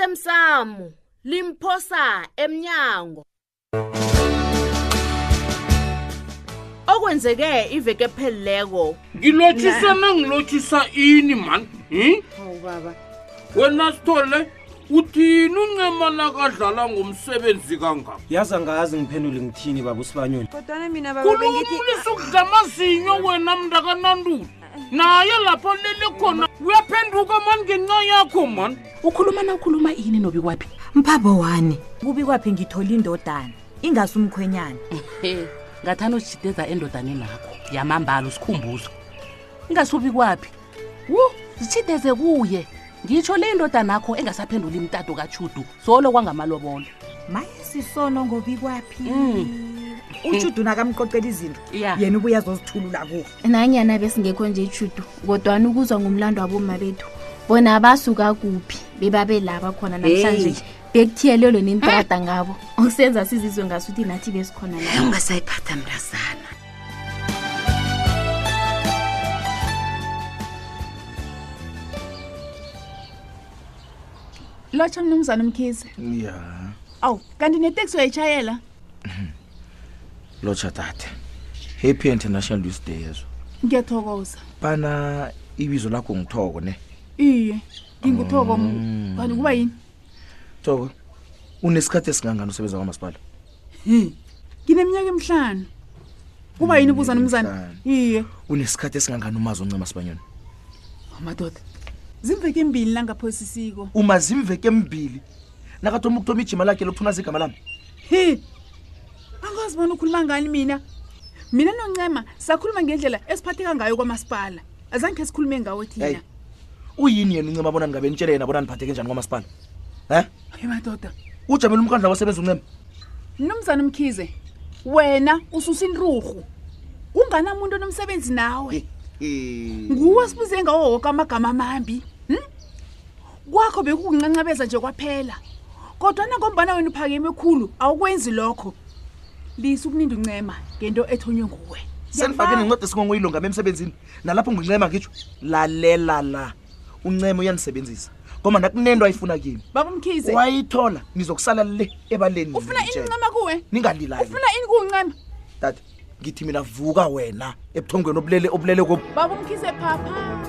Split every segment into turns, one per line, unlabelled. osemsamo limphosa emnyango okwenzeke iveke pheleleko
ngilotshise nangilotshisa ini mani hi
hawu baba
wena sithole uthini uncema nakadlala ngomsebenzi kangaka
yazi angazi ngiphendule ngithini baba usibanyoni
kodwana mina baba bengithi
kulumlisa ukudlamazinyo wena mntakanandula
Ah.
naye lapho lele khona uyaphenduka mani ngenxa yakho mani
ukhuluma na ukhuluma ini nobi kwaphi
mphabo wani kubi kwaphi ngithole indodana ingasi umkhwenyana
ehe ngathani usitshideza endodaneni nakho yamambala usikhumbuzo ingasubi kwaphi wu zitshideze kuye ngitsho le indodana akho engasaphenduli imtato kachudu solo kwangamalobolo
maye sisono ngobi kwaphi
Mm.
ujudu nakamqoqela izinto
Ya.
yena ubuye azozithulula kuwo
nanyana besingekho nje judu kodwana ukuzwa ngumlando waboma bethu bona basuka kuphi bebabe laba khona namhlanje bekuthiyelelwe nentrada ngabo okusenza sizizwe ngasuthi nathi besikhona la
ungasayiphatha mrazana
lotsha mnumzana umkhize
ya
awu kanti neteksi uyayitshayela
lotsha tate happy international youth day yezo
ngiyathokoza
bana ibizo lakho ngithoko ne
iye nginguthoko
Mm.
m- kanti kuba yini
thoko unesikhathi esingangani usebenza kwamasipala
ngineminyaka emihlanu kuba yini ubuza nomzana
emihlanu.
iye
unesikhathi esingangani umazi oncema sibanyoni
amadoda zimveke mbili langaphosisiko
uma zimveke mbili nakathoma ukuthoma ijima lakhe lokuthi unazi igama lami
hi angazi bona ukhuluma ngani mina mina noncema sakhuluma ngendlela esiphatheka ngayo kwamasipala azange khe sikhulume ngawo
hey
thina
uyini yena uncema bona ningabe nitshele yena bona niphatheke njani kwamasipala em
hayi madoda
ujamele umkhandla wasebenza uncema
mnumzana umkhize wena ususa inturhu unganamuntu onomsebenzi nawe nguwe sibuze ngawo woke amagama amambi hm? kwakho bekukuncancabeza nje kwaphela kodwa nangombana wena uphakeme khulu awukwenzi lokho lisa ukuninda uncema ngento ethonywe nguwe
senifake nencwadi esingongo yilongama emsebenzini nalapho nginxema ngitsho lalela la uncema uyanisebenzisa ngoba nakunento ayifuna kimi
baba mkhize
wayithola nizokusala le ebaleni
ufuna ini
ningitjele.
uncema kuwe
ningalilali
ufuna ini kuwuncema
tata ngithi mina vuka wena ebuthongweni obulele obulele kobu
baba mkhize phapha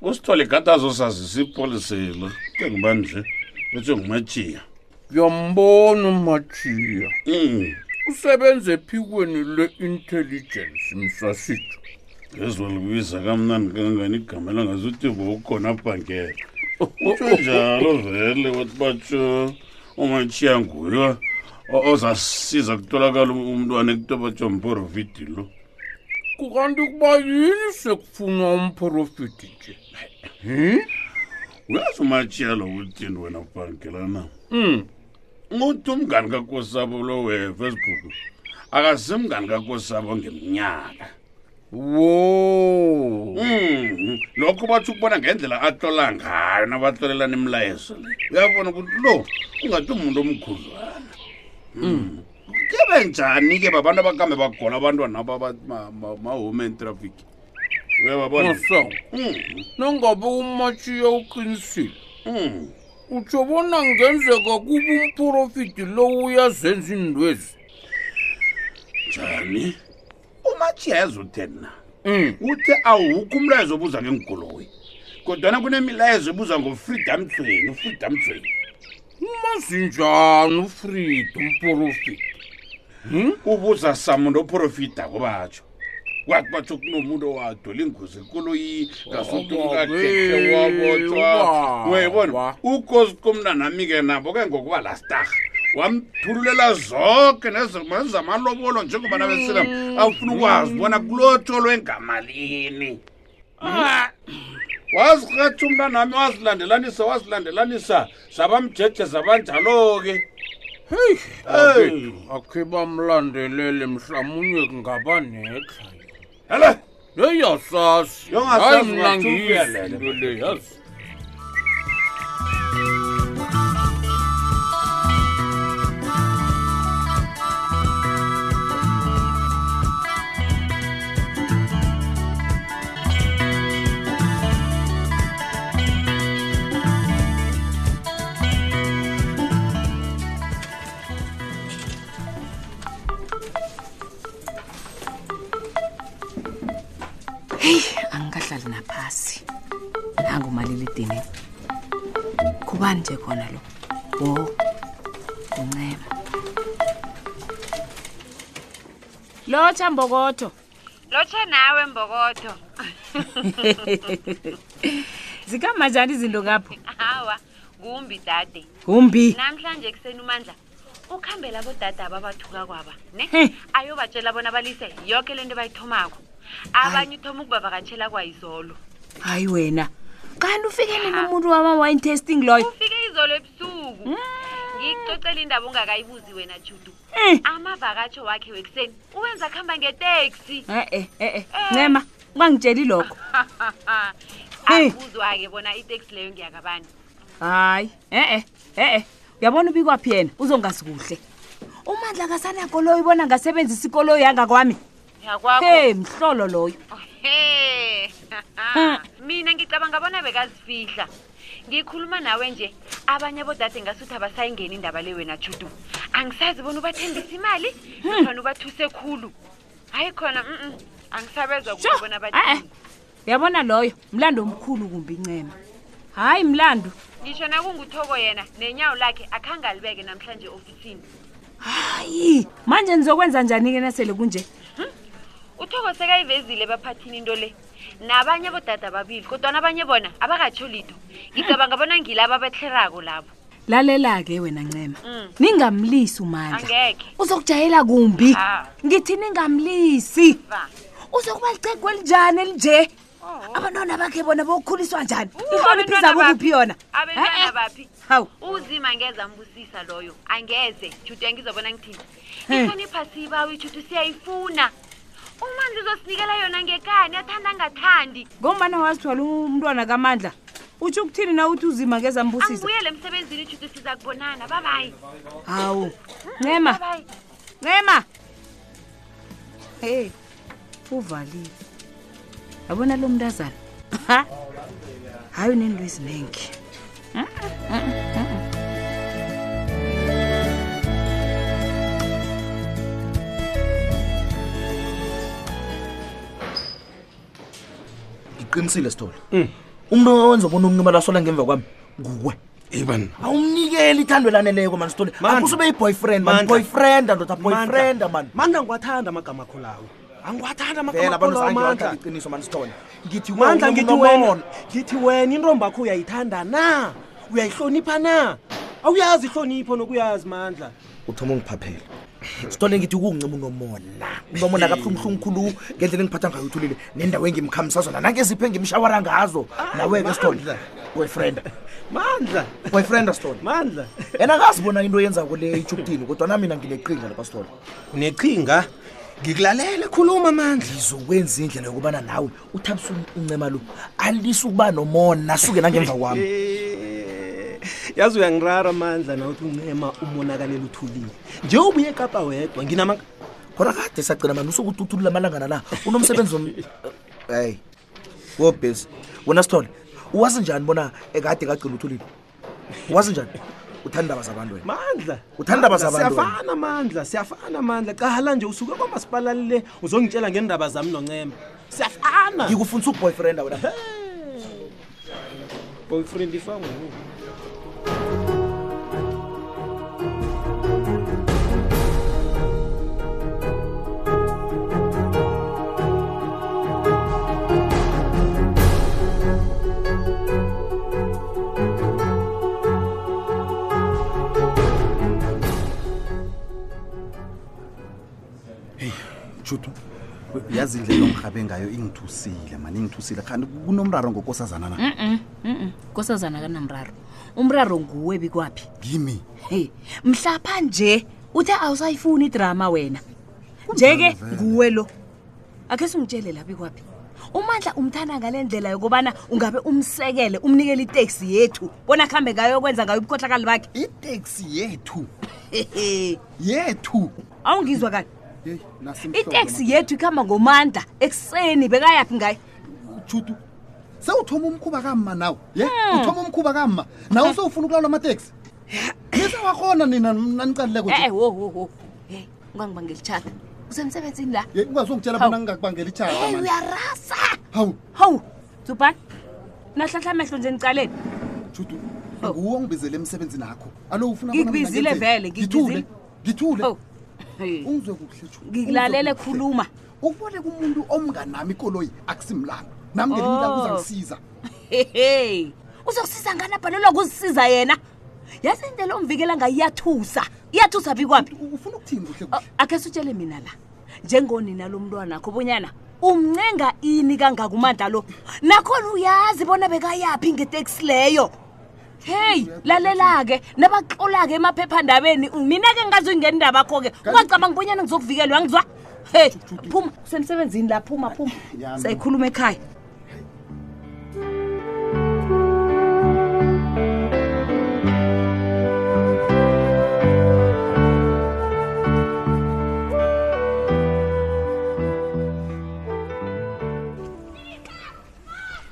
usithole gada azosazisa ipolisela ke ngibanje betsho ngumajiya
ngiyombona umajiya
um
usebenza ephikweni le-intelligence msasitsho
ngezwa libiza kamnandi kangangani igama elangazuthi bowukhona abhangela utsho njalo vele wathi batsho umachiya nguyo o- ozasiza kutholakala um-, umntwana ekutobatsho mporovidi lo
kukanti kuba yini sekufunwa umprofiti nje
uyazi umachiya lo uthini wena bhangela na
um
uthi umngani kakosabo lo wefacebook akasimngani kakosabo ngeminyaka
wo
Mm, lokho bathi ukubona ngendlela atlola ngayo nabatlolelana imilayezo le uyabona ukuthi lo ungathi umuntu omkhudlwana kebe njani-ke babantu abakambe bagola abantwana abama-homen traffic uyababona
masango
Mm,
nangabe umajiya uqinisile
mm.
utsho bona ngenzeka kuba umprofiti lowo uyazenza iintwezi
njani umajiyazi utheni na
um
uthe awukho umlayezo obuza ngengigoloyi kodwana kunemilayezo ebuza ngofreedom train ufreedom train
umazinjani ufrida umprofiti
ubuza samuntu oprofita kubatsho kwathi batsho kunomuntu owadola ingozi ekoloyi ngasuthi umkakekhe
Awe,
wabotshwa
ubaba.
wayibona ukosi komna nami ke nabo ke ngokuba lastaha wamthululela zonke nezamalobolo njengoba nabesela afuna ukwazi bona kulotsholwe ngamalini Ah, wazirhatha umntanami wazilandelanisa wazilandelanisa zabamjeje zabanjalo ke
heyi akhe bamlandelele mhlamunye kungaba nexa
hele
leyasazi
Yongasazi
hayi mna
ungathi
ngiyizi
ubuyelele.
into le yazi
angikahlali naphasi nangumalilidini kubani nje khona lo wo unceba
lotsha mbokodo
lotshe nawe mbokodo
zikamajani izinto ngapho
hawa kumbi dade
gumbi
namhlanje ekuseni umandla ukhambela bodada ababathuka kwaba ne
He.
ayobatshela bona balise yoke le nto bayithomako abanye uthoma ukubavakatshela kwayizolo
hayi wena kanti ufike nini umuntu wama-wine testing loyo Hmm.
ufike izolo ebusuku ngikucocela indaba ungakayibuzi wena judu
Eh.
amavakatsho wakhe wekuseni uwenza kuhamba ngeteksi Eh.
e-e e-e ncema ungangitsheli lokho Eh.
akuzwa-ke bona iteksi leyo ngiyakabani
hayi e-e e-e uyabona ubikwaphi yena uzongazi kuhle umandla kasanakoloyi bona ngasebenzisa ikoloyi yangakwami
yakwakho
he mhlolo loyo
He. mina ngicabanga bona bekazifihla ngikhuluma nawe nje abanye abodade ngasuthi abasayingeni indaba le wena judu angisazi bona ubathembisa imali nofana ubathuse khulu hayi khona mm angisabezwa kubona
e-e
bathini
uyabona loyo mlando omkhulu kumbi ncema hayi mlando
ngisho nakunguthoko yena nenyawo lakhe akhange alibeke namhlanje ofisini
hayi manje nizokwenza njani-ke nasele kunje
uthoko sekayivezile baphathini into le nabanye abodade ababili kodwana abanye bona abakatsho litho ngicabanga bona ngilabo abatlerako labo
lalela-ke wena ncema
Mm.
ningamlisi umandla
angekhe
uzokujayela kumbi
Ah.
ngithi ningamlisi
va
uzokuba licegu elinjani elinje
Oh.
abantwana bakhe bona bokhuliswa njani
Uh,
inhloniphi
abentwana
zabo kuphi
baphi?
yona
abentwana
Eh, eh.
baphi
hawu
uzima ngeza ambusisa loyo angeze judu yangizobona ngithini
Eh.
ihlonipha siyibawo ijudu siyayifuna umanzi uzosinikela yona ngekani athanda angathandi
ngombana wazithwala umntwana kamandla utsho ukuthini na uthi uzima ngezambusisa
angibuyele emsebenzini ijudu siza kubonana babayi
hawu ncema
babayi
ncema hey uvalile yabona lo mntazana Ha, hayi unento eziningi
ngiqinisile sithole umuntu owenza bona umncima lasola ngemva kwami nguwe
ibani
awumnikeli ithando elaneleko mani sithole
Mandla.
akusube yiboyfriend man
Mandla.
boyfrienda ndoda boyfrienda mani
manda ngiwathanda amagama akho lawo angiwathanda
vela abantu zangewathanda
amagamaamandla
iqiniso mani sithole ngithi
mandla
wena
ngithi
unomono.
wena ngithi wena intombi akho uyayithanda na uyayihlonipha na awuyazi ihlonipho nokuyazi mandla
uthoma ungiphaphela sithole ngithi kuwuncima unomona unomona kabuhlunguhlungu khulu ngendlela engiphatha ngayo uthulile nendawo engimkhamisa zona nangezipho engimshawara ngazo nawe-ke sithole
Mandla.
boyfriend
mandla
boyfriend sithole
mandla
yena ngazibona into yenzako le ijubutini kodwana mina ngineqinga lapha sithole
uneqhinga ngikulalele khuluma mandla
ngizokwenza indlela yokubana nawe uthabisa uncema lo alise ukuba nomona suke nangemva kwami
Eh, yazi uyangirara amandla nawuthi uncema umonakalela uthulile nje ubuye ekapa wedwa nginama
khona kade sagcina mani usokuthi uthulula amalangana la unomsebenzi om hayi wobhesi wena sithole uwazi njani bona ekade kagcina uthulile uwazi njani uthanda indaba zabantu wena
mandla Mandla,
Uthanda abazabantu wena.
siyafana mandla siyafana mandla cahala nje usuke kwamasipalali le uzongitshela ngendaba zami noncema siyafana
ngikufundisa uboyfriend wena
boyfriend ifango
judu
uyazi indlela ongihabe ngayo ingithusile mani ingithusile kanti kunomraro ngokosazana na
Mm-mm, mm-mm. nkosazana kanamraro umraro nguwe bikwaphi
ngimi
hey mhlapha nje uthe awusayifuni idrama wena nje-ke nguwe lo akhe singitshele lapha bikwaphi umandla umthanda ngale ndlela yokubana ungabe umsekele umnikele iteksi yethu bona kuhambe ngayo yokwenza ngayo ubukhohlakali bakhe
iteksi yethu yethu
awungizwa kani
iteksi
iteksi yethu ikuhamba ngomandla ekuseni bekayaphi ngayo
judu sewuthoma umkhuba kamma nawe ye uthoma umkhuba kamma nawe sewufuna ukulawula amateksi nisewakhona nina nanicalileko
e wo wo wo hey ungangibangelichata usemsebenzini la
ungazongitshela bona ngingakubangela
Hey,
itshata
uyarasa
hawu
hawu zubhani nahlahla amehlo nje nicaleni
judu nguwe ongibizele emsebenzini akho alo ufuna bona mina
Oh. ngikubizile
ngenzeni?
vele
ngithule
ngikubizile Oh.
ngithule
ungizwe
kuhle
ngikulalele khuluma
ukuboleka umuntu omnganami ikoloyi akusimlando nami ngelinye
Oh.
ilanga uzangisiza
hehe uzokusiza ngani abhalelwa kuzisiza yena yazi indlela omvikela ngayo iyathusa iyathusa bikwaphi
ufuna ukuthini kuhle
akhe sutshele mina la njengonina lo mntwanakho bonyana umncenga ini kangakumandla lo nakhona uyazi bona bekayaphi ngeteksi leyo heyi lalela-ke nabaxola-ke emaphephandabeni mina-ke ngingazuyingeni indabakho-ke ungacabanga bonyana ngizokuvikelwa ngizwa hey phuma usemsebenzini la phuma phuma
Yami.
sayikhuluma ekhaya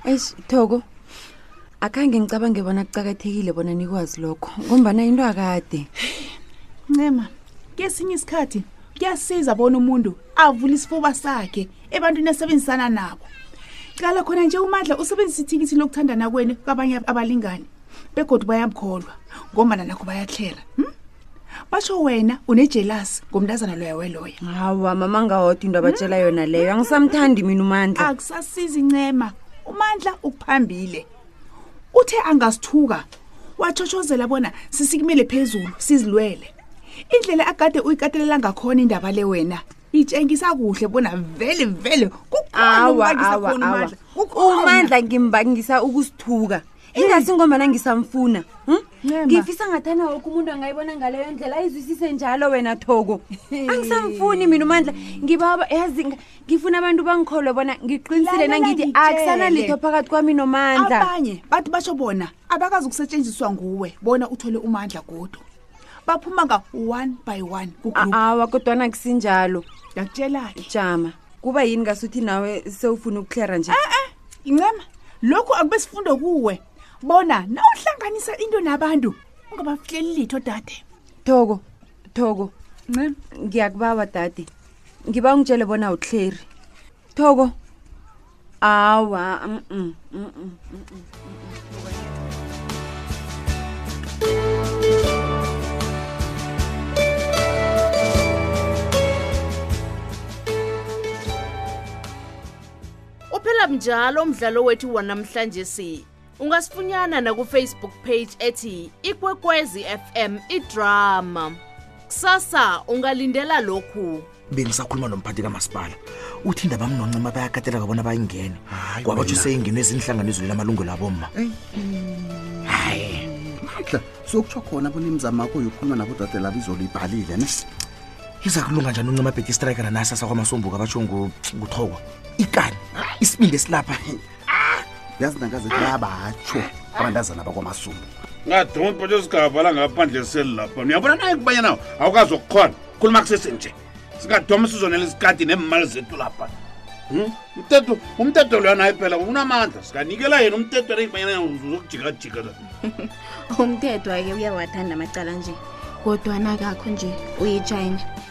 eish thoko akhange ngicabange bona kucakathekile bona nikwazi lokho ngombana into akade
ncema kesinye isikhathi kuyasiza bona umuntu avule isifuba sakhe ebantwini asebenzisana nabo qala khona nje umandla usebenzisa ithikithi lokuthandana kwenu kabanye abalingani begodwa bayamkholwa ngombana nakho bayahlera hmm? basho wena unejelasi ngomntazana loya weloya
hawa mama ngahodwa into abatshela yona leyo angisamthandi mina umandla
akusasiza incema umandla ukuphambile uthe angasithuka watshotshozela bona sisikumele phezulu sizilwele indlela agade uyikatelela ngakhona indaba le wena itshengisa kuhle bona vele vele kukhona
awa
ukubangisa
awa
khona
awa
uMandla.
umandla ngimbangisa ukusithuka
Eh.
ingasi ngombana ngisamfuna hm? ngifisa ngathana woke umuntu angayibona ngaleyo ndlela ayizwisise njalo wena thoko angisamfuni mina umandla ngibaba yazi nga- ngifuna abantu bangikholwe bona ngiqinisile
Lalela
nangithi
ngitjele.
akusanalitho phakathi kwami nomandla
abanye bathi batsho bona abakazi ukusetshenziswa nguwe bona uthole umandla kodwa baphuma nga-one by one
awa kodwana kusinjalo
ngakutshela-ke
jama kuba yini ngasuthi nawe sewufuna ukuhlera nje
incema E-e, lokhu akube sifunde kuwe bona nawuhlanganisa into nabantu ungabafihleli litho dade
thoko thoko ngiyakubawa dade ngiba ungitshele bona uthleri thoko awa mm-mm, mm-mm, mm-mm.
uphela mnjalo umdlalo wethu wanamhlanje si ungasifunyana nakufacebook page ethi ikwekwezi fm idrama kusasa ungalindela lokhu
bengisakhuluma nomphathi kamasipala uthi indaba mnoncima bayakateleka bona bayingene kwabatsho
wena.
seyingenwe zinhlanganiso lamalungelo abomma
hayi mandla sokutsho khona bona imizamo akho yokhuluma nabodade labo izolo ibhalile ne
iza kulunga njani uncima bheti istrikera nasasakwamasomboko abatsho ngu- nguthokwa ikani isibindi esilapha
yazi nangaze bayabatsho abantazana bakwamasumbu
ngadumpa nje sigabala ngaphandle seli lapha niyabona naye kubanye nawo awukazi okukhona khuluma kusese nje singadoma sizonela isikadi neemali zethu lapha Hmm? umthetho umthetho loya naye phela unamandla sikanikela yena umthetho leibanyanauzokujikajika la
umthethwa-ke uyawathanda amacala nje kodwana kakho nje uyitshayina